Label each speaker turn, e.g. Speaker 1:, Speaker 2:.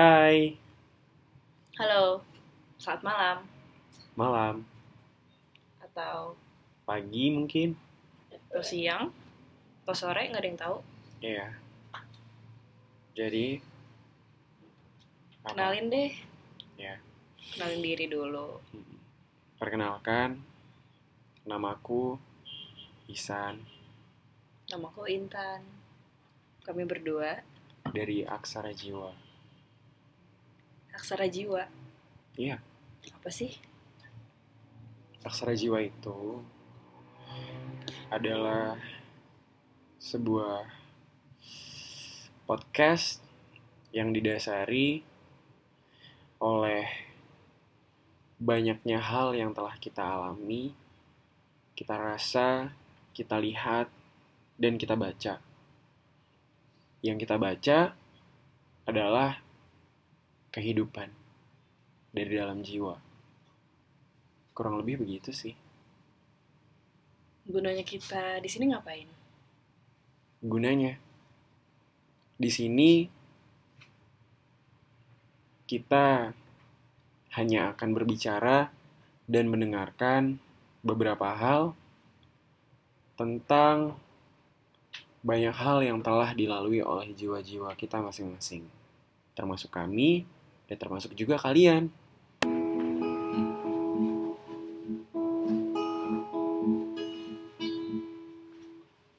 Speaker 1: Hai,
Speaker 2: Halo, saat malam
Speaker 1: malam,
Speaker 2: atau
Speaker 1: pagi mungkin?
Speaker 2: atau siang atau sore nggak ada yang tahu.
Speaker 1: Iya. Jadi, apa?
Speaker 2: Kenalin deh.
Speaker 1: Ya.
Speaker 2: Kenalin diri dulu.
Speaker 1: Mm. Perkenalkan, namaku Isan
Speaker 2: Namaku Intan. Kami berdua
Speaker 1: dari Aksara Jiwa.
Speaker 2: aksara jiwa.
Speaker 1: Iya.
Speaker 2: Apa sih?
Speaker 1: Aksara Jiwa itu adalah sebuah podcast yang didasari oleh banyaknya hal yang telah kita alami, kita rasa, kita lihat, dan kita baca. Yang kita baca adalah kehidupan dari dalam jiwa. Kurang lebih begitu sih.
Speaker 2: Gunanya kita di sini ngapain?
Speaker 1: gunanya. Di sini kita hanya akan berbicara dan mendengarkan beberapa hal tentang banyak hal yang telah dilalui oleh jiwa-jiwa kita masing-masing. Termasuk kami dan termasuk juga kalian.